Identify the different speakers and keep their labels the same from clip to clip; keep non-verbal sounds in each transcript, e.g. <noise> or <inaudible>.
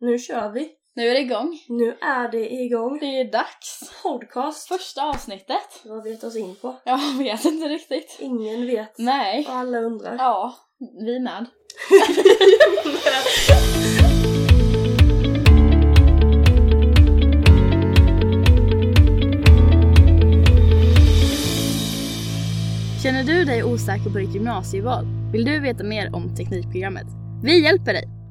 Speaker 1: Nu kör vi!
Speaker 2: Nu är det igång.
Speaker 1: Nu är det igång!
Speaker 2: Det är ju dags.
Speaker 1: Podcast!
Speaker 2: Första avsnittet.
Speaker 1: Vad vet oss in på?
Speaker 2: Jag vet inte riktigt.
Speaker 1: Ingen vet.
Speaker 2: Nej.
Speaker 1: Och alla undrar.
Speaker 2: Ja, vi med. Känner du dig osäker på ditt gymnasieval? Vill du veta mer om Teknikprogrammet? Vi hjälper dig!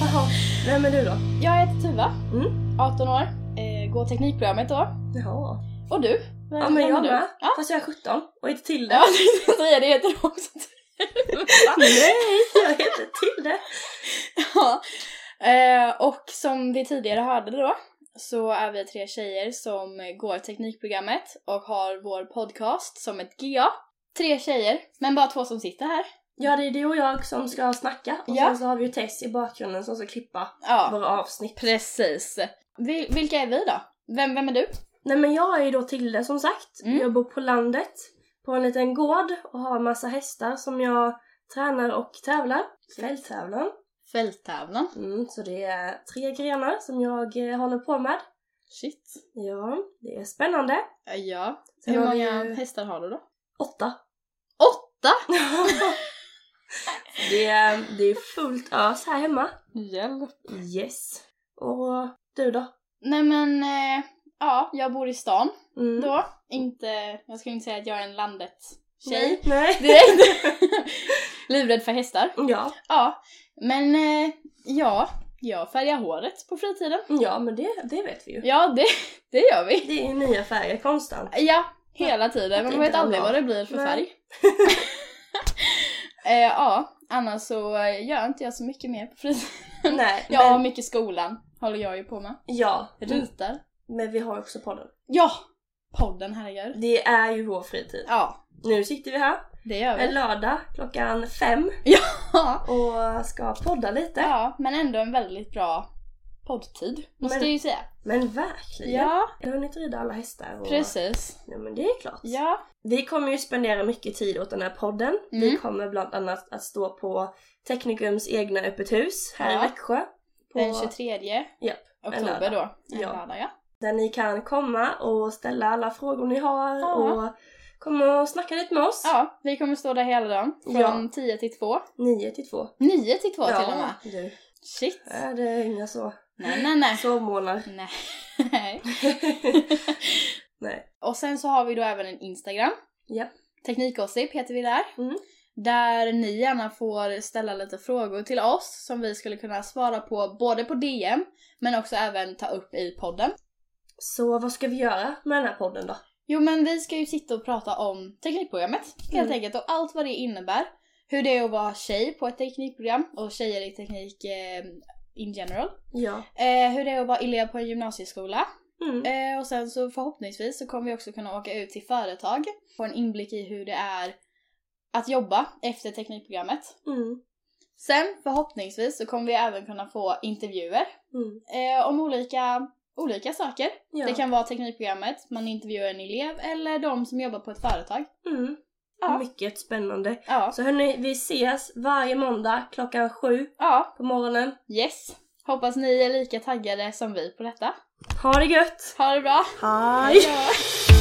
Speaker 1: Jaha, vem är du då?
Speaker 2: Jag heter Tuva,
Speaker 1: Mm.
Speaker 2: 18 år, eh, går teknikprogrammet då.
Speaker 1: Jaha.
Speaker 2: Och du?
Speaker 1: Ja men jag
Speaker 2: du?
Speaker 1: med.
Speaker 2: Ja,
Speaker 1: Fast jag är 17 och heter Tilde.
Speaker 2: ja <laughs> jag tänkte säga det heter du också.
Speaker 1: Nej, <laughs> jag heter Tilde!
Speaker 2: <laughs> Ja. Eh, och som vi tidigare hörde då så är vi tre tjejer som går teknikprogrammet och har vår podcast som ett GA. Tre tjejer, men bara två som sitter här.
Speaker 1: Ja det är du och jag som ska snacka och
Speaker 2: Ja.
Speaker 1: sen så har vi ju Tess i bakgrunden som ska klippa
Speaker 2: Ja,
Speaker 1: våra avsnitt.
Speaker 2: precis. Vi, vilka är vi då? Vem, vem är du?
Speaker 1: Nej men jag är ju då Tilde som sagt.
Speaker 2: Mm.
Speaker 1: Jag bor på landet, på en liten gård och har massa hästar som jag tränar och tävlar. Fälttävlan.
Speaker 2: Fälttävlan.
Speaker 1: Mm, så det är tre grenar som jag eh, håller på med.
Speaker 2: Shit. Eh,
Speaker 1: Ja, det är spännande.
Speaker 2: Ja.
Speaker 1: Sen
Speaker 2: Hur
Speaker 1: har vi
Speaker 2: många
Speaker 1: ju-
Speaker 2: hästar har du då?
Speaker 1: Åtta. <laughs>
Speaker 2: Åtta!
Speaker 1: det, är, det är fullt ös här hemma.
Speaker 2: Hjälp.
Speaker 1: Yes. Och du då?
Speaker 2: Nej men, eh, ja, jag bor i stan
Speaker 1: Mm.
Speaker 2: då. Inte, jag skulle inte säga att jag är en landet-tjej.
Speaker 1: Nej. Nej.
Speaker 2: direkt. <laughs> Livrädd för hästar.
Speaker 1: Ja.
Speaker 2: Ja, men eh, ja, jag färgar håret på fritiden.
Speaker 1: ja, men det, det vet vi ju.
Speaker 2: Ja, det, det gör vi.
Speaker 1: Det är nya färger konstant.
Speaker 2: Ja, hela tiden. Men man vet aldrig vad det blir för
Speaker 1: Nej.
Speaker 2: färg. <laughs> eh, ja, annars så eh, gör inte jag så mycket mer på <laughs> fritiden.
Speaker 1: Nej,
Speaker 2: Ja,
Speaker 1: men,
Speaker 2: mycket skolan håller jag ju på med.
Speaker 1: ja. Mm.
Speaker 2: Ritar.
Speaker 1: Men vi har ju också podden.
Speaker 2: Ja! Podden, herregud.
Speaker 1: Det är ju vår fritid.
Speaker 2: Ja,
Speaker 1: Nu sitter vi här
Speaker 2: det gör
Speaker 1: en
Speaker 2: vi.
Speaker 1: lördag klockan fem
Speaker 2: Ja.
Speaker 1: och ska podda lite.
Speaker 2: ja, men ändå en väldigt bra poddtid, måste
Speaker 1: Men-
Speaker 2: jag ju säga.
Speaker 1: Men verkligen!
Speaker 2: Ja,
Speaker 1: Jag har hunnit rida alla hästar och...
Speaker 2: precis.
Speaker 1: Ja men det är klart.
Speaker 2: Ja,
Speaker 1: Vi kommer ju spendera mycket tid åt den här podden. Vi
Speaker 2: Mm.
Speaker 1: kommer bland annat att stå på Teknikums egna öppet hus här
Speaker 2: Ja.
Speaker 1: i Växjö. På...
Speaker 2: den 23
Speaker 1: Japp,
Speaker 2: oktober då. En
Speaker 1: Ja.
Speaker 2: lördag ja.
Speaker 1: Där ni kan komma och ställa alla frågor ni har
Speaker 2: Ja.
Speaker 1: och komma och snacka lite med oss.
Speaker 2: Ja, vi kommer stå där hela dagen. Från
Speaker 1: Ja.
Speaker 2: 10 till 2.
Speaker 1: 9 till 2.
Speaker 2: 9 till 2 till och med.
Speaker 1: Ja, du.
Speaker 2: Shit.
Speaker 1: Är det inga så
Speaker 2: Nej, nej, nej.
Speaker 1: sovmorgnar?
Speaker 2: nej.
Speaker 1: Nej.
Speaker 2: och sen så har vi då även en Instagram.
Speaker 1: Ja.
Speaker 2: Teknikgossip heter vi där.
Speaker 1: Mm.
Speaker 2: Där ni gärna får ställa lite frågor till oss som vi skulle kunna svara på både på DM men också även ta upp i podden.
Speaker 1: Så vad ska vi göra med den här podden då?
Speaker 2: Jo men vi ska ju sitta och prata om teknikprogrammet helt
Speaker 1: Mm.
Speaker 2: enkelt och allt vad det innebär. Hur det är att vara tjej på ett teknikprogram och tjejer i teknik eh, in general.
Speaker 1: Ja.
Speaker 2: Eh, hur det är att vara elev på en gymnasieskola.
Speaker 1: Mm.
Speaker 2: Eh, och sen så förhoppningsvis så kommer vi också kunna åka ut till företag. Få en inblick i hur det är att jobba efter teknikprogrammet.
Speaker 1: Mm.
Speaker 2: Sen förhoppningsvis så kommer vi även kunna få intervjuer
Speaker 1: Mm.
Speaker 2: eh, om olika, olika saker.
Speaker 1: Ja.
Speaker 2: Det kan vara teknikprogrammet, man intervjuar en elev eller de som jobbar på ett företag.
Speaker 1: Mm.
Speaker 2: Ja.
Speaker 1: Mycket spännande.
Speaker 2: Ja.
Speaker 1: Så hörni, vi ses varje måndag klockan sju
Speaker 2: ja,
Speaker 1: på morgonen.
Speaker 2: yes. Hoppas ni är lika taggade som vi på detta.
Speaker 1: Ha det gött!
Speaker 2: Ha det bra!
Speaker 1: Hej!
Speaker 2: då!